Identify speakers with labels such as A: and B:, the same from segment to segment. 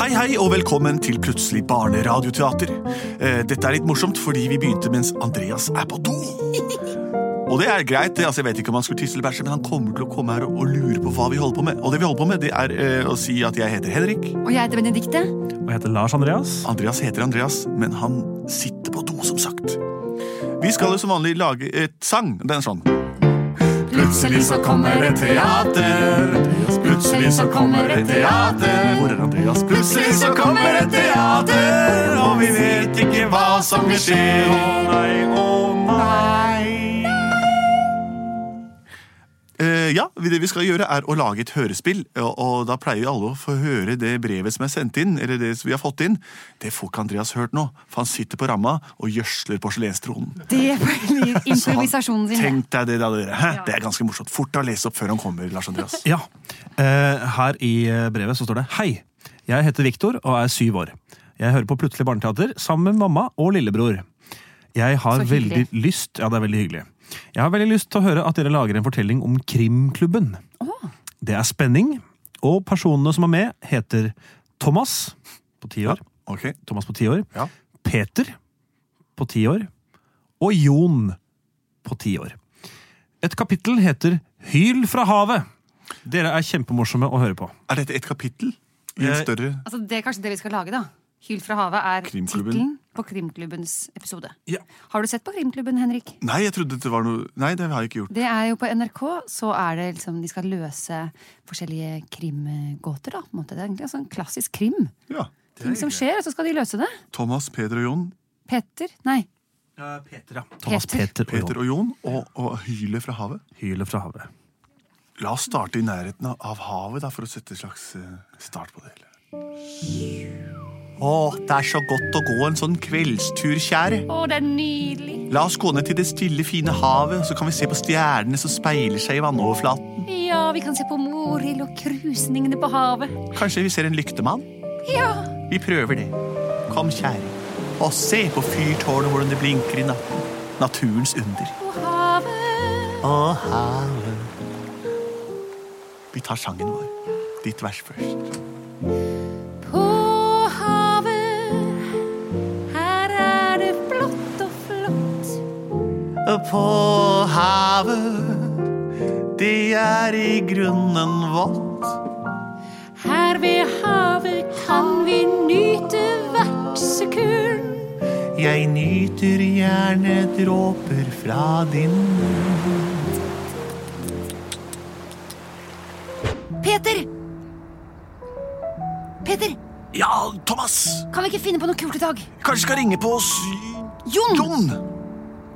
A: Hei, hei, og velkommen til Plutselig barneradioteater. Eh, Dette er litt morsomt, fordi vi begynte mens Andreas er på do. Og det er greit, det. altså jeg vet ikke om han skulle tisse eller bæsje, men han kommer til å komme her og- og lure på hva vi holder på med. Og det vi holder på med, det er eh, å si at jeg heter Henrik.
B: Og jeg heter Benedikte.
C: Og jeg heter Lars Andreas.
A: Andreas heter Andreas, men han sitter på do, som sagt. Vi skal jo som vanlig lage et sang. Den er sånn.
B: Plutselig så kommer et
A: teater.
B: Plutselig så kommer et teater.
A: Hvor er Andreas? Plutselig så kommer et teater, og vi vet ikke hva som vil skje. Å nei, å nei. Eh, ja, vi- Det vi skal gjøre, er å lage et hørespill. Og, og da pleier jo alle å få høre det brevet som er sendt inn. eller Det som vi har fått inn. Det får ikke Andreas hørt nå, for han sitter på ramma og gjøsler porselenstronen.
B: Det blir improvisasjonen sin. det.
A: Tenk deg det, da, dere. Hæ? Det er ganske morsomt. Fort å lese opp før han kommer. Lars Andreas.
C: Ja. Eh, her i eh, brevet så står det Hei, jeg heter Viktor og er syv år. Jeg hører på Plutselig barneteater sammen med mamma og lillebror. Jeg har
B: Så hyggelig.
C: veldig lyst Ja, det er veldig hyggelig. Jeg har veldig lyst til å høre at dere lager en fortelling om Krimklubben. Det er spenning, og personene som er med, heter Thomas på ti år.
A: Ok.
C: Thomas på ti år.
A: Ja.
C: Peter på ti år. Og Jon på ti år. Et kapittel heter Hyl fra havet. Dere er kjempemorsomme å høre på.
A: Er dette et kapittel? I en
C: Eh,
A: større
B: Altså, det er kanskje det vi skal lage, da. Hyl fra havet er
A: Krimklubben.
B: tittelen på Krimklubbens episode.
C: Ja.
B: Har du sett på Krimklubben, Henrik?
A: Nei, jeg trodde det var noe Nei, det har jeg ikke gjort.
B: Det er jo på NRK, så er det liksom De skal løse forskjellige krimgåter, da. På en måte. Det er egentlig en sånn klassisk krim.
A: Ja.
B: Ting som skjer, og så skal de løse det.
A: Thomas, Peder og Jon.
B: Petter? Nei.
C: Peter, ja. Thomas
B: Peter.
C: Peter,
A: Peter
C: og
A: og Jon og, og hylet fra havet.
C: Jon. Hylet fra havet.
A: La oss starte i nærheten av- av havet, da, for å sette en slags eh, start på det hele. Å, det er så godt å gå en sånn kveldstur, kjære.
B: Å, det er nydelig!
A: La oss gå ned til det stille, fine havet, så kan vi se på stjernene som speiler seg i vannoverflaten.
B: Ja, vi kan se på Morild og krusningene på havet.
A: Kanskje vi ser en lyktemann?
B: Ja!
A: Vi prøver det. Kom, kjære. Og se på fyrtårnet, hvordan det blinker i natten. Naturens under.
B: Og havet
A: Og havet. Vi tar sangen vår. Ditt vers først.
B: På havet, her er det blått og flott.
A: På havet, det er i grunnen vått.
B: Her ved havet kan vi nyte hvert sekund.
A: Jeg nyter gjerne dråper fra din
B: Peter! Peter,
A: Ja, Thomas!
B: kan vi ikke finne på noe kult i dag?
A: Kanskje skal ringe på oss
B: Jon!
A: Jon!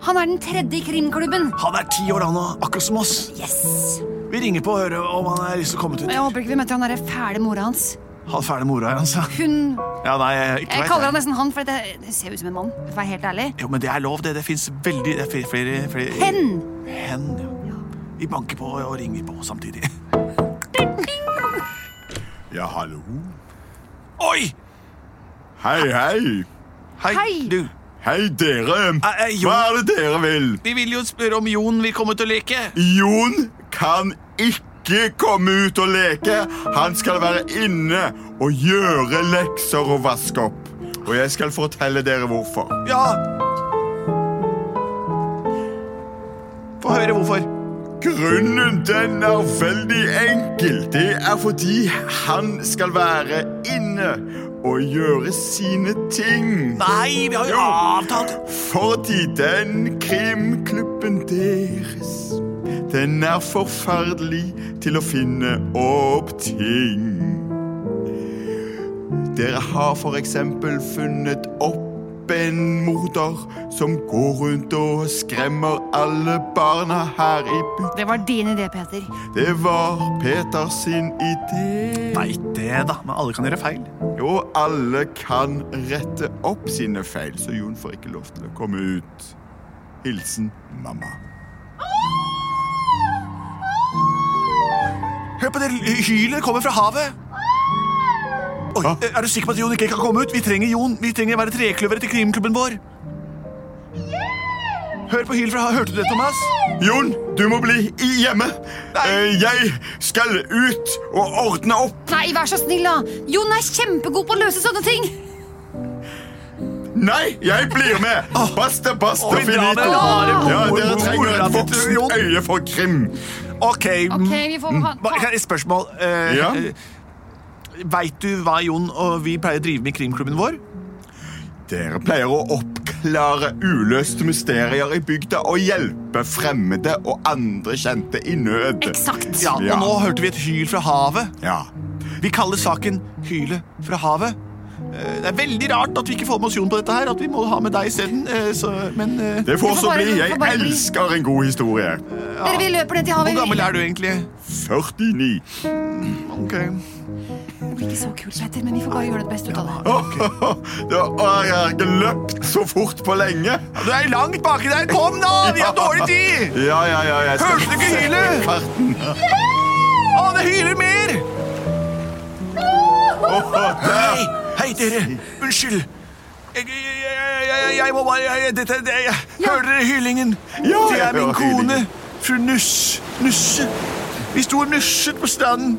B: Han er den tredje i krimklubben.
A: Han er ti år, han òg. Akkurat som oss.
B: Yes!
A: Vi ringer på og hører om han er lyst til å komme til.
B: Jeg håper ikke vi møter han derre fæle mora hans.
A: Han fæle mora hans. ja.
B: Hun
A: altså. Ja, nei, jeg ikke
B: Jeg
A: vet
B: kaller
A: det.
B: han nesten han, for det, det ser ut som en mann. For å være helt ærlig.
A: Jo, men det er lov, det. Det fins veldig det er flere, flere, flere
B: Hen!
A: Hen, ja. Vi banker på og ringer på samtidig.
D: Ja, hallo.
A: Oi!
D: Hei, hei.
A: Hei,
B: Hei!
A: du.
D: Hei, dere.
A: Eh, eh, Jon.
D: Hva er det dere vil?
A: Vi vil jo spørre om Jon vil komme til å leke.
D: Jon kan ikke komme ut og leke. Han skal være inne og gjøre lekser og vaske opp. Og jeg skal fortelle dere hvorfor.
A: Ja! Få høre hvorfor.
D: Grunnen den er veldig enkel. Det er fordi han skal være inne og gjøre sine ting.
A: Nei, vi har jo
D: Jo.
A: avtalt
D: Fordi den krimklubben deres Den er forferdelig til å finne opp ting Dere har for eksempel funnet opp opp en morder som går rundt og skremmer alle barna her i bygda.
B: Det var din idé, Peter.
D: Det var Peter sin idé.
A: Nei, det da, men alle kan gjøre feil.
D: Og alle kan rette opp sine feil, så Jon får ikke lov til å komme ut. Hilsen mamma.
A: Hør på det l- hylet kommer fra havet! Oi,
D: Hva?
A: Er du sikker på at Jon ikke kan komme ut? Vi trenger Jon. Vi trenger å være trekløvere til krimklubben vår. Hør på hylet fra havet. Hørte du det, Thomas?
D: Jon, du må bli i hjemme. Eh, Jeg skal ut og ordne opp.
B: Nei, vær så snill, da! Jon er kjempegod på å løse sånne ting!
D: Nei, jeg blir med. Basta, basta,
A: Ah. Oi, dra med
D: finito.
A: bare gode
D: Ja, dere trenger
A: morer,
D: et
A: Jon.
D: voksent øye for krim.
A: Ok,
B: Ok, vi får ha
A: Mm. Bare kan jeg- et spørsmål. Eh,
D: Ja?
A: eh, Veit du hva Jon og vi pleier å drive med i krimklubben vår?
D: Dere pleier å oppklare uløste mysterier i bygda og hjelpe fremmede og andre kjente i nød.
B: Eksakt!
A: Ja, og
D: Ja.
A: nå hørte vi et hyl fra havet.
D: Ja.
A: Vi kaller saken Hylet fra havet. Eh, Det er veldig rart at vi ikke får med oss Jon på dette her, at vi må ha med deg isteden. eh, så- Men eh,
D: Det får
B: Det får
D: så
B: bare-
D: bli.
B: det får
D: Jeg
B: bare bli.
D: elsker en god historie.
B: Dere, vi løper ned til
A: hvor
B: havet.
A: gammel
B: Vi-
A: er du egentlig?
D: 49.
A: Ok.
B: Det blir ikke så kult, Peter, men vi får bare gjøre det beste ut av det.
D: Åh, Da har jeg ikke løpt så fort på lenge.
A: Du er langt baki der! Kom, da! Vi har dårlig tid!
D: Ja, ja, ja. Jeg skal
A: Hørte du ikke hylet?
D: Farten.
A: Å, det hyler mer!
D: Åh,
A: Hei, hei dere. Unnskyld. Jeg, jeg, jeg, jeg, jeg må bare jeg, dette, det, jeg, Hører dere hylingen?
D: Ja,
A: det
D: jeg
A: er min
D: hører
A: kone,
D: hylingen.
A: fru Nuss. Nusse. Vi sto og nusset på stranden,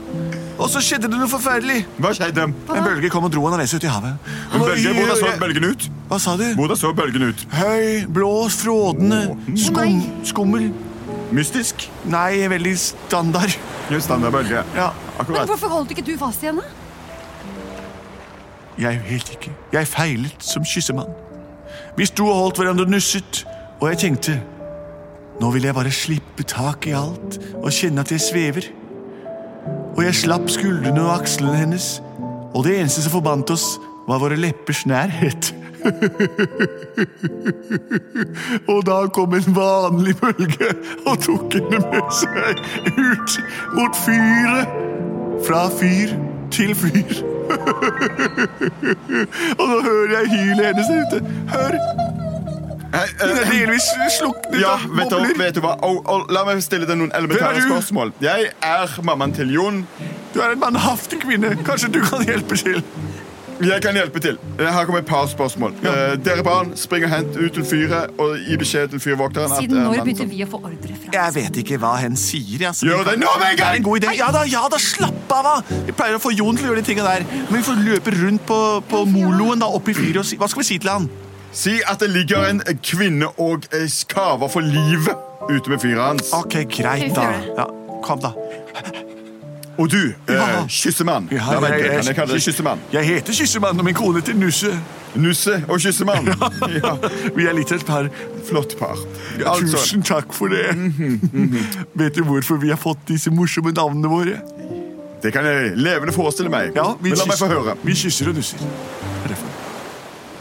A: og så skjedde det noe forferdelig.
D: Hva skjedde?
A: En bølge kom og dro han reise ut i havet. Og nå-
D: Bølge, hvordan så bølgen ut?
A: Hva sa du?
D: Hvordan så bølgen ut?
A: Høy, blå, frådende, skum,
B: Nei.
A: skummel.
D: Mystisk?
A: Nei, veldig standard.
D: Jo, Standardbølge.
A: Ja.
B: Men
D: Akkurat.
B: hvorfor holdt ikke du fast i henne?
A: Sånn Jeg helt ikke. Jeg feilet som kyssemann. Vi sto og holdt hverandre og nusset, og jeg tenkte Nå vil jeg bare slippe tak i alt og kjenne at jeg svever. Og jeg slapp skuldrene og akslene hennes, og det eneste som forbandt oss, var våre leppers nærhet. og da kom en vanlig bølge og tok henne med seg ut mot fyret. Fra fyr til fyr. Og nå hører jeg hylet hennes der ute. Hør!
D: Hei,
A: Hun er
D: eh,
A: delvis sluknet
D: Ja,
A: av
D: vet du,
A: bobler.
D: vet du hva? Au, au, la meg stille deg noen
A: Hvem
D: elementære
A: er du?
D: spørsmål. Jeg er mammaen til Jon.
A: Du er en mannhaftig kvinne. Kanskje du kan hjelpe til?
D: Jeg kan hjelpe til. Eh, Her kommer et par spørsmål. Eh, dere barn, spring og hent ut til fyret og gi beskjed til fyrvokteren. at
B: Siden
D: det er en
B: når
D: mann
B: begynte
D: som-
B: vi å få ordre fra
A: eh, Jeg vet ikke hva hen sier. jeg, så vi
D: Gjør
A: kan-
D: det nå med en gang!
A: Det er god idé. Ja da, ja da, slapp av, da! Vi pleier å få Jon til å gjøre de tinga der. Men vi får løpe rundt på, på moloen da, opp i fyret og si Hva skal vi si til han?
D: Si at det ligger en kvinne og eh, skaver for livet ute ved fyret hans.
A: Ok, greit, da.
B: gjøre det.
A: Ja, kom, da.
D: Og du,
A: Ja.
D: eh, kyssemann. La meg ikke, kan jeg kalle deg kyssemann.
A: Jeg heter Kyssemann, og min kone heter Nusse.
D: Nusse og kyssemann. Ja,
A: Vi er litt av et par.
D: flott par. Altså, Mhm,
A: Tusen takk for det. Vet du hvorfor vi har fått disse morsomme navnene våre?
D: det kan jeg levende forestille meg.
A: Ja, vi
D: Men la meg få
A: kysser-
D: høre.
A: Vi kysser og nusser. Det er derfor.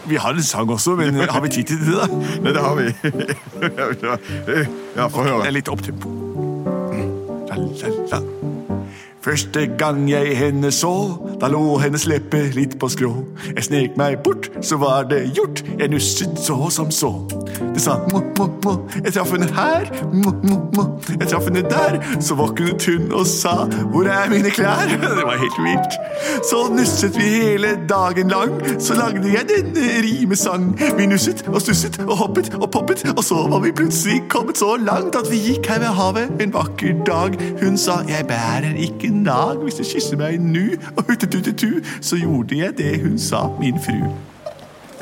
A: Vi har en sang også, men har vi tid til det, da?
D: Nei, det har vi. ja, få
A: Det
D: høre.
A: er litt opptempo. Mm. La, la, la. Første gang jeg henne så, da lå hennes leppe litt på skrå. Jeg snek meg bort, så var det gjort. Jeg nusset så som så. Det sa må, må, må. Jeg traff henne her, må, må, må. Jeg traff henne der. Så våknet hun og sa hvor er mine klær? Det var helt vilt. Så nusset vi hele dagen lang. Så lagde jeg denne rimesang. Vi nusset og stusset og hoppet og poppet, og så var vi plutselig kommet så langt at vi gikk her ved havet en vakker dag. Hun sa 'jeg bærer ikke nag hvis du kysser meg nu', og huttetutetu, så gjorde jeg det hun sa, min fru.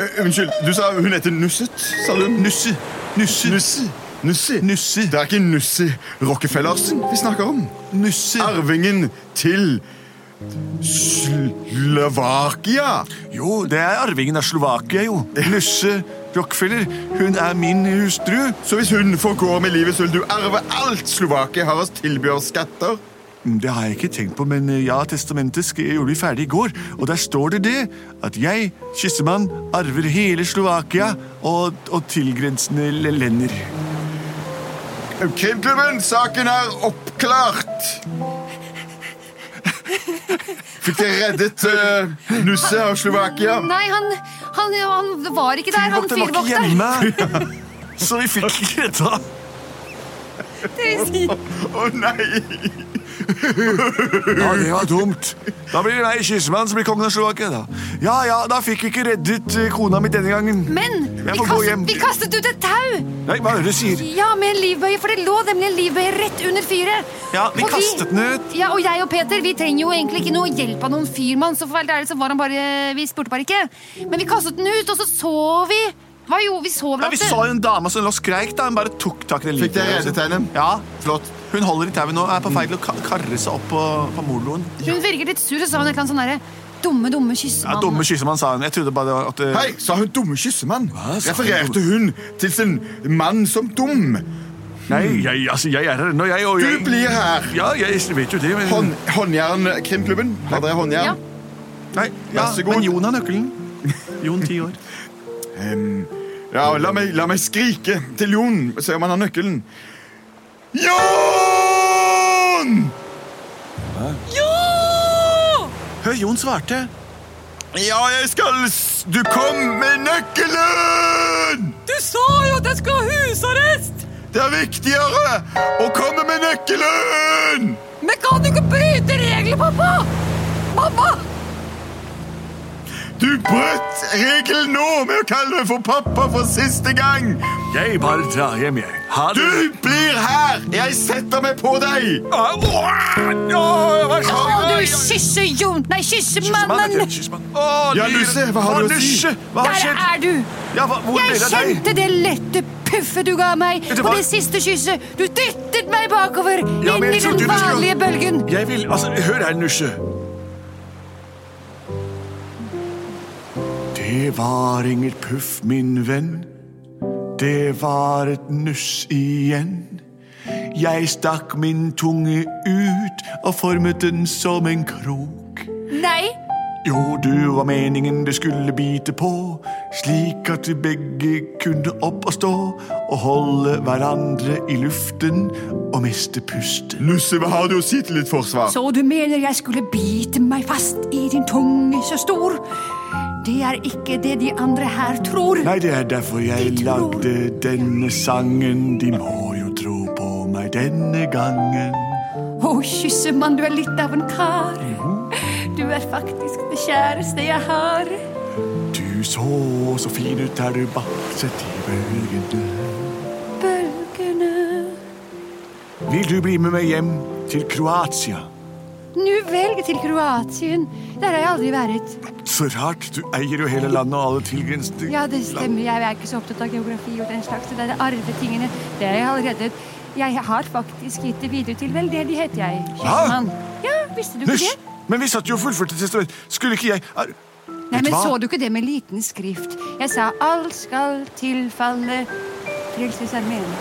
D: Eh, Unnskyld, du sa hun heter Nusset, sa du?
A: Nusse, nusse,
D: Nusse. Nusse.
A: Nusse.
D: Det er ikke Nusse Rockefellersen vi snakker om.
A: nusse.
D: Arvingen til Slovakia.
A: Jo, det er arvingen av Slovakia, jo. Nusse Rockefeller. Hun er min hustru.
D: Så hvis hun forgår med livet, så vil du arve alt Slovakia har å tilby av skatter.
A: Mm, Det har jeg ikke tenkt på, men eh, ja, testamentet sk- gjorde vi ferdig i går. Og der står det det at jeg, kyssemann, arver hele Slovakia og, og tilgrensende l- lender.
D: Krimklubben, saken er oppklart! Fikk dere reddet eh, Nusse av Slovakia?
B: Nei, han, han, han var ikke der, han
A: Fyrvokter var ikke
B: fyrvokteren.
A: hjemme, så vi fikk ikke redda ham.
D: Å nei!
A: Ja, det var dumt. Da blir det meg, kyssemann, som blir kongen av Slovakia. da. Ja, ja, da fikk vi ikke reddet eh, kona mi denne gangen.
B: Men
A: Jeg
B: vi
A: får gå hjem.
B: kastet, vi kastet ut et tau!
A: Nei, hva er det du sier?
B: Ja, med en livbøye, for det lå nemlig en livbøye rett under fyret.
A: Ja, vi
B: Og
A: kastet den ut.
B: Ja, Og jeg og Peter vi trenger jo egentlig ikke noe hjelp av noen fyrmann, så for å være helt ærlig så var han bare Vi spurte bare ikke. Men vi kastet den ut, og så så vi Hva jo, vi så vel
A: Ja,
B: at
A: Vi
B: det-
A: så jo en dame som lå og skreik. da. Hun bare tok tak i det
D: Fikk dere reddet henne?
A: Ja,
D: Flott.
A: Hun holder i tauet nå og er på vei til å ka- karre seg opp på, på moloen.
B: Hun virker litt sur, og så sa hun et eller annet sånn derre Dumme, dumme
A: Ja,
B: kyssemann.
A: dumme kyssemann, sa hun. Jeg trodde bare det var at eh,
D: Hei, sa hun dumme kyssemann?
A: Hva sa hun?
D: Refererte hun til sin mann som dum?
A: Nei, jeg, altså, jeg er her ennå, jeg. Og
D: Du
A: jeg,
D: blir her!
A: Ja, jeg vet jo det, men
D: Hånd, håndjern, Krimklubben. Har dere
B: Ja.
D: håndjern?
A: Nei, ja,
D: Vær så god.
A: Men Jon har nøkkelen. Jon, ti år.
D: Ehm, ja, la meg, la meg skrike til Jon, se om han har nøkkelen. Jon!
A: Hør, Jon svarte.
D: Ja, jeg skal s- Du kom med nøkkelen!
E: Du sa jo at jeg skulle ha husarrest!
D: Det er viktigere å komme med nøkkelen!
E: Men kan du ikke bryte reglene, pappa? Mamma!
D: Du brøt regelen nå med å kalle meg for pappa for siste gang!
A: Jeg bare drar hjem, jeg. Ha
D: Du blir her! Jeg setter meg på deg!
A: Kyssemann,
B: Å, du kysse Jon Nei, kysse
A: heter
B: mannen!
A: det, kyssemann.
D: Ja, Nusse, hva har du å si?
A: Nusse, Hva har
B: Der
A: skjedd?
B: er du!
A: Ja, hva, hvor
B: Jeg
A: ble det av deg?
B: kjente det lette puffet du ga meg
A: Vet du
B: på
A: hva?
B: det siste kysset. Du dyttet meg bakover
A: Ja,
B: inn
A: men jeg
B: i
A: trodde
B: den
A: du skulle-
B: vanlige bølgen.
A: Jeg vil Altså, hør her, Nusje. Det var inget puff, min venn. Det var et nuss igjen. Jeg stakk min tunge ut og formet den som en krok.
B: Nei,
A: Jo, du var meningen det skulle bite på, slik at vi begge kunne opp og stå og holde hverandre i luften og miste pusten.
D: Nusse, hva har du å si til ditt forsvar?
B: så du mener jeg skulle bite meg fast i din tunge så stor? Det er ikke det de andre her tror.
A: Nei, det er derfor jeg
B: De tror-
A: lagde denne sangen. De må jo tro på meg denne gangen.
B: Å, kyssemann, du er litt av en kar. Du er faktisk det kjæreste jeg har.
A: Du så så fin ut der du bakset i bølgene.
B: Bølgene
A: Vil du bli med meg hjem til Kroatia?
B: Nu velg til Kroatien. Der har jeg aldri vært.
A: Så rart. Du eier jo hele landet og alle tilgrensende
B: Ja, det stemmer. Jeg er ikke så opptatt av geografi og den slags. Det er arvetingene. Det er jeg allerede Jeg har faktisk gitt det videre til veldedighet, jeg. Kjøpmann. Ja, visste du ikke
A: Hysj!
B: det?
A: Men vi satt jo og fullførte testament. Skulle ikke jeg er,
B: Nei,
A: Vet du
B: men
A: hva?
B: så du ikke det med liten skrift? Jeg sa alt skal tilfalle Frelsesarmeen.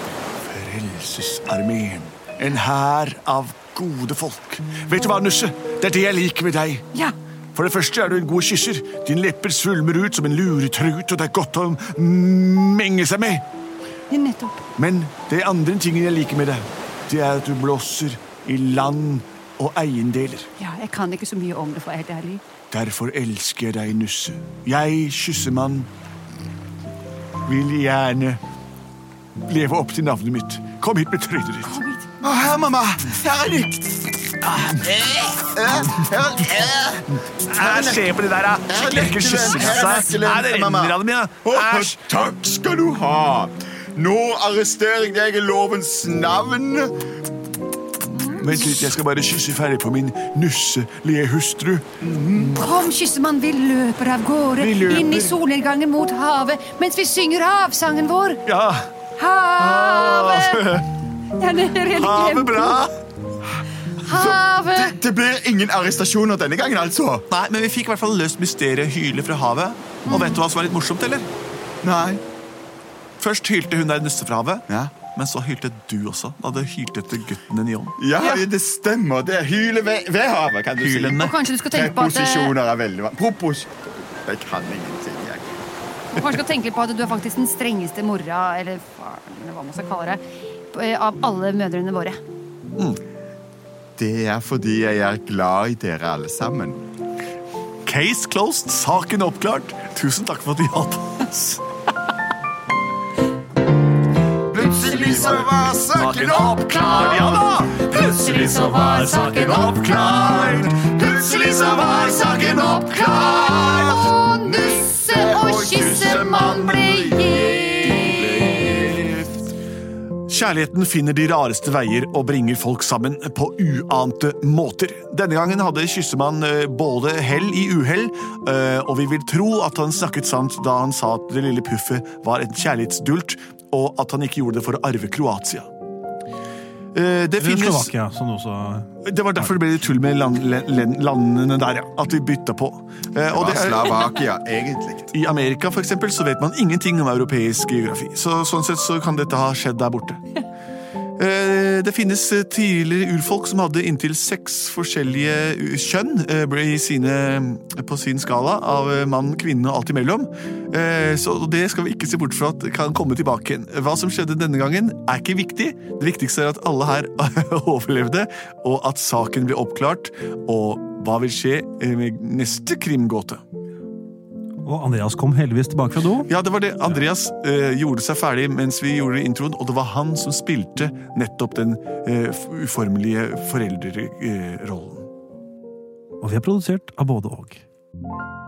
A: Frelsesarmeen. En hær av gode folk. Vet du hva, Nusse? Det er det jeg liker med deg.
B: Ja.
A: For det første er du en god kysser. Dine lepper svulmer ut som en luretrut, og det er godt å menge seg med.
B: Nettopp.
A: Men det andre tingen jeg liker med deg, det er at du blåser i land og eiendeler.
B: Ja, jeg kan ikke så mye om det, for å være helt ærlig.
A: Derfor elsker jeg deg, Nusse. Jeg, kyssemann, vil gjerne leve opp til navnet mitt. Kom hit med trynet ditt.
D: Å, her, mamma! Her er nytt!
A: Æsj, se på det der, da.
D: Æsj,
A: Lekker kyssing av seg.
D: nøkkelen,
A: Nei, det
D: mamma.
A: renner av dem, ja.
D: Åh,
A: Æsj.
D: takk skal du ha! Nå arresterer jeg deg i lovens navn.
A: Vent litt, jeg skal bare kysse ferdig på min nusselige hustru.
B: Kom, kyssemann, vi løper av gårde.
A: Vi løper.
B: Inn i solnedgangen mot havet mens vi synger havsangen vår.
A: Ja,
B: Havet! Ja, det er helt
A: ha det
B: glemt.
A: bra.
B: Havet!
D: Det blir ingen arrestasjoner denne gangen, altså.
A: Nei, men vi fikk i hvert fall løst mysteriet hyle fra havet. Og vet du hva som er litt morsomt, eller?
D: Nei.
A: Først hylte hun der nusse fra havet.
D: Ja.
A: Men så hylte du også, da du hylte etter gutten din i ånd.
D: Ja,
B: Ja.
D: det stemmer. Det er hyle ved, ved havet, kan du
A: Hylende.
D: si.
B: Og kanskje du skal tenke på at, eh,
D: Preposisjoner er veldig vanskelig. Propos... Jeg kan ingenting, jeg.
B: kanskje du skal tenke på at du er faktisk den strengeste mora, eller faren, eller hva man skal kalle det, eh, av alle mødrene våre.
D: Det er fordi jeg er glad i dere alle sammen.
A: Case closed, saken oppklart. Tusen takk for at vi hadde oss.
D: Plutselig så var saken oppklart, ja da! Ah, Plutselig så var saken oppklart. Plutselig så var saken oppklart. Og nusse og kysse man ble gift.
A: Kjærligheten finner de rareste veier og bringer folk sammen på uante måter. Denne gangen hadde Kyssemann eh, både hell i uhell, eh, og vi vil tro at han snakket sant da han sa at det lille puffet var en kjærlighetsdult, og at han ikke gjorde det for å arve Kroatia. Eh, Det
C: Eller
A: finnes
C: Slovakia, som det også
A: Det var derfor det ble litt tull med land, land, landene der, ja. At vi bytta på. Eh, og
D: Hva
A: det er-
D: Slavakia egentlig?
A: I Amerika for eksempel, så vet man ingenting om europeisk geografi. Så, sånn sett så kan dette ha skjedd der borte. Eh, Det finnes eh, tidligere urfolk som hadde inntil seks forskjellige u- kjønn eh, ble i sine, eh, på sin skala av eh, mann, kvinne og alt imellom. Eh, Så det skal vi ikke se bort fra at kan komme tilbake igjen. Hva som skjedde denne gangen, er ikke viktig. Det viktigste er at alle her overlevde, og at saken ble oppklart. Og hva vil skje eh, med neste krimgåte?
C: Og Andreas kom heldigvis tilbake fra do.
A: Ja, det var det. Andreas eh, gjorde seg ferdig mens vi gjorde introen, og det var han som spilte nettopp den eh, f- uformelige eh, foreldrerollen.
C: Og vi er produsert av både og.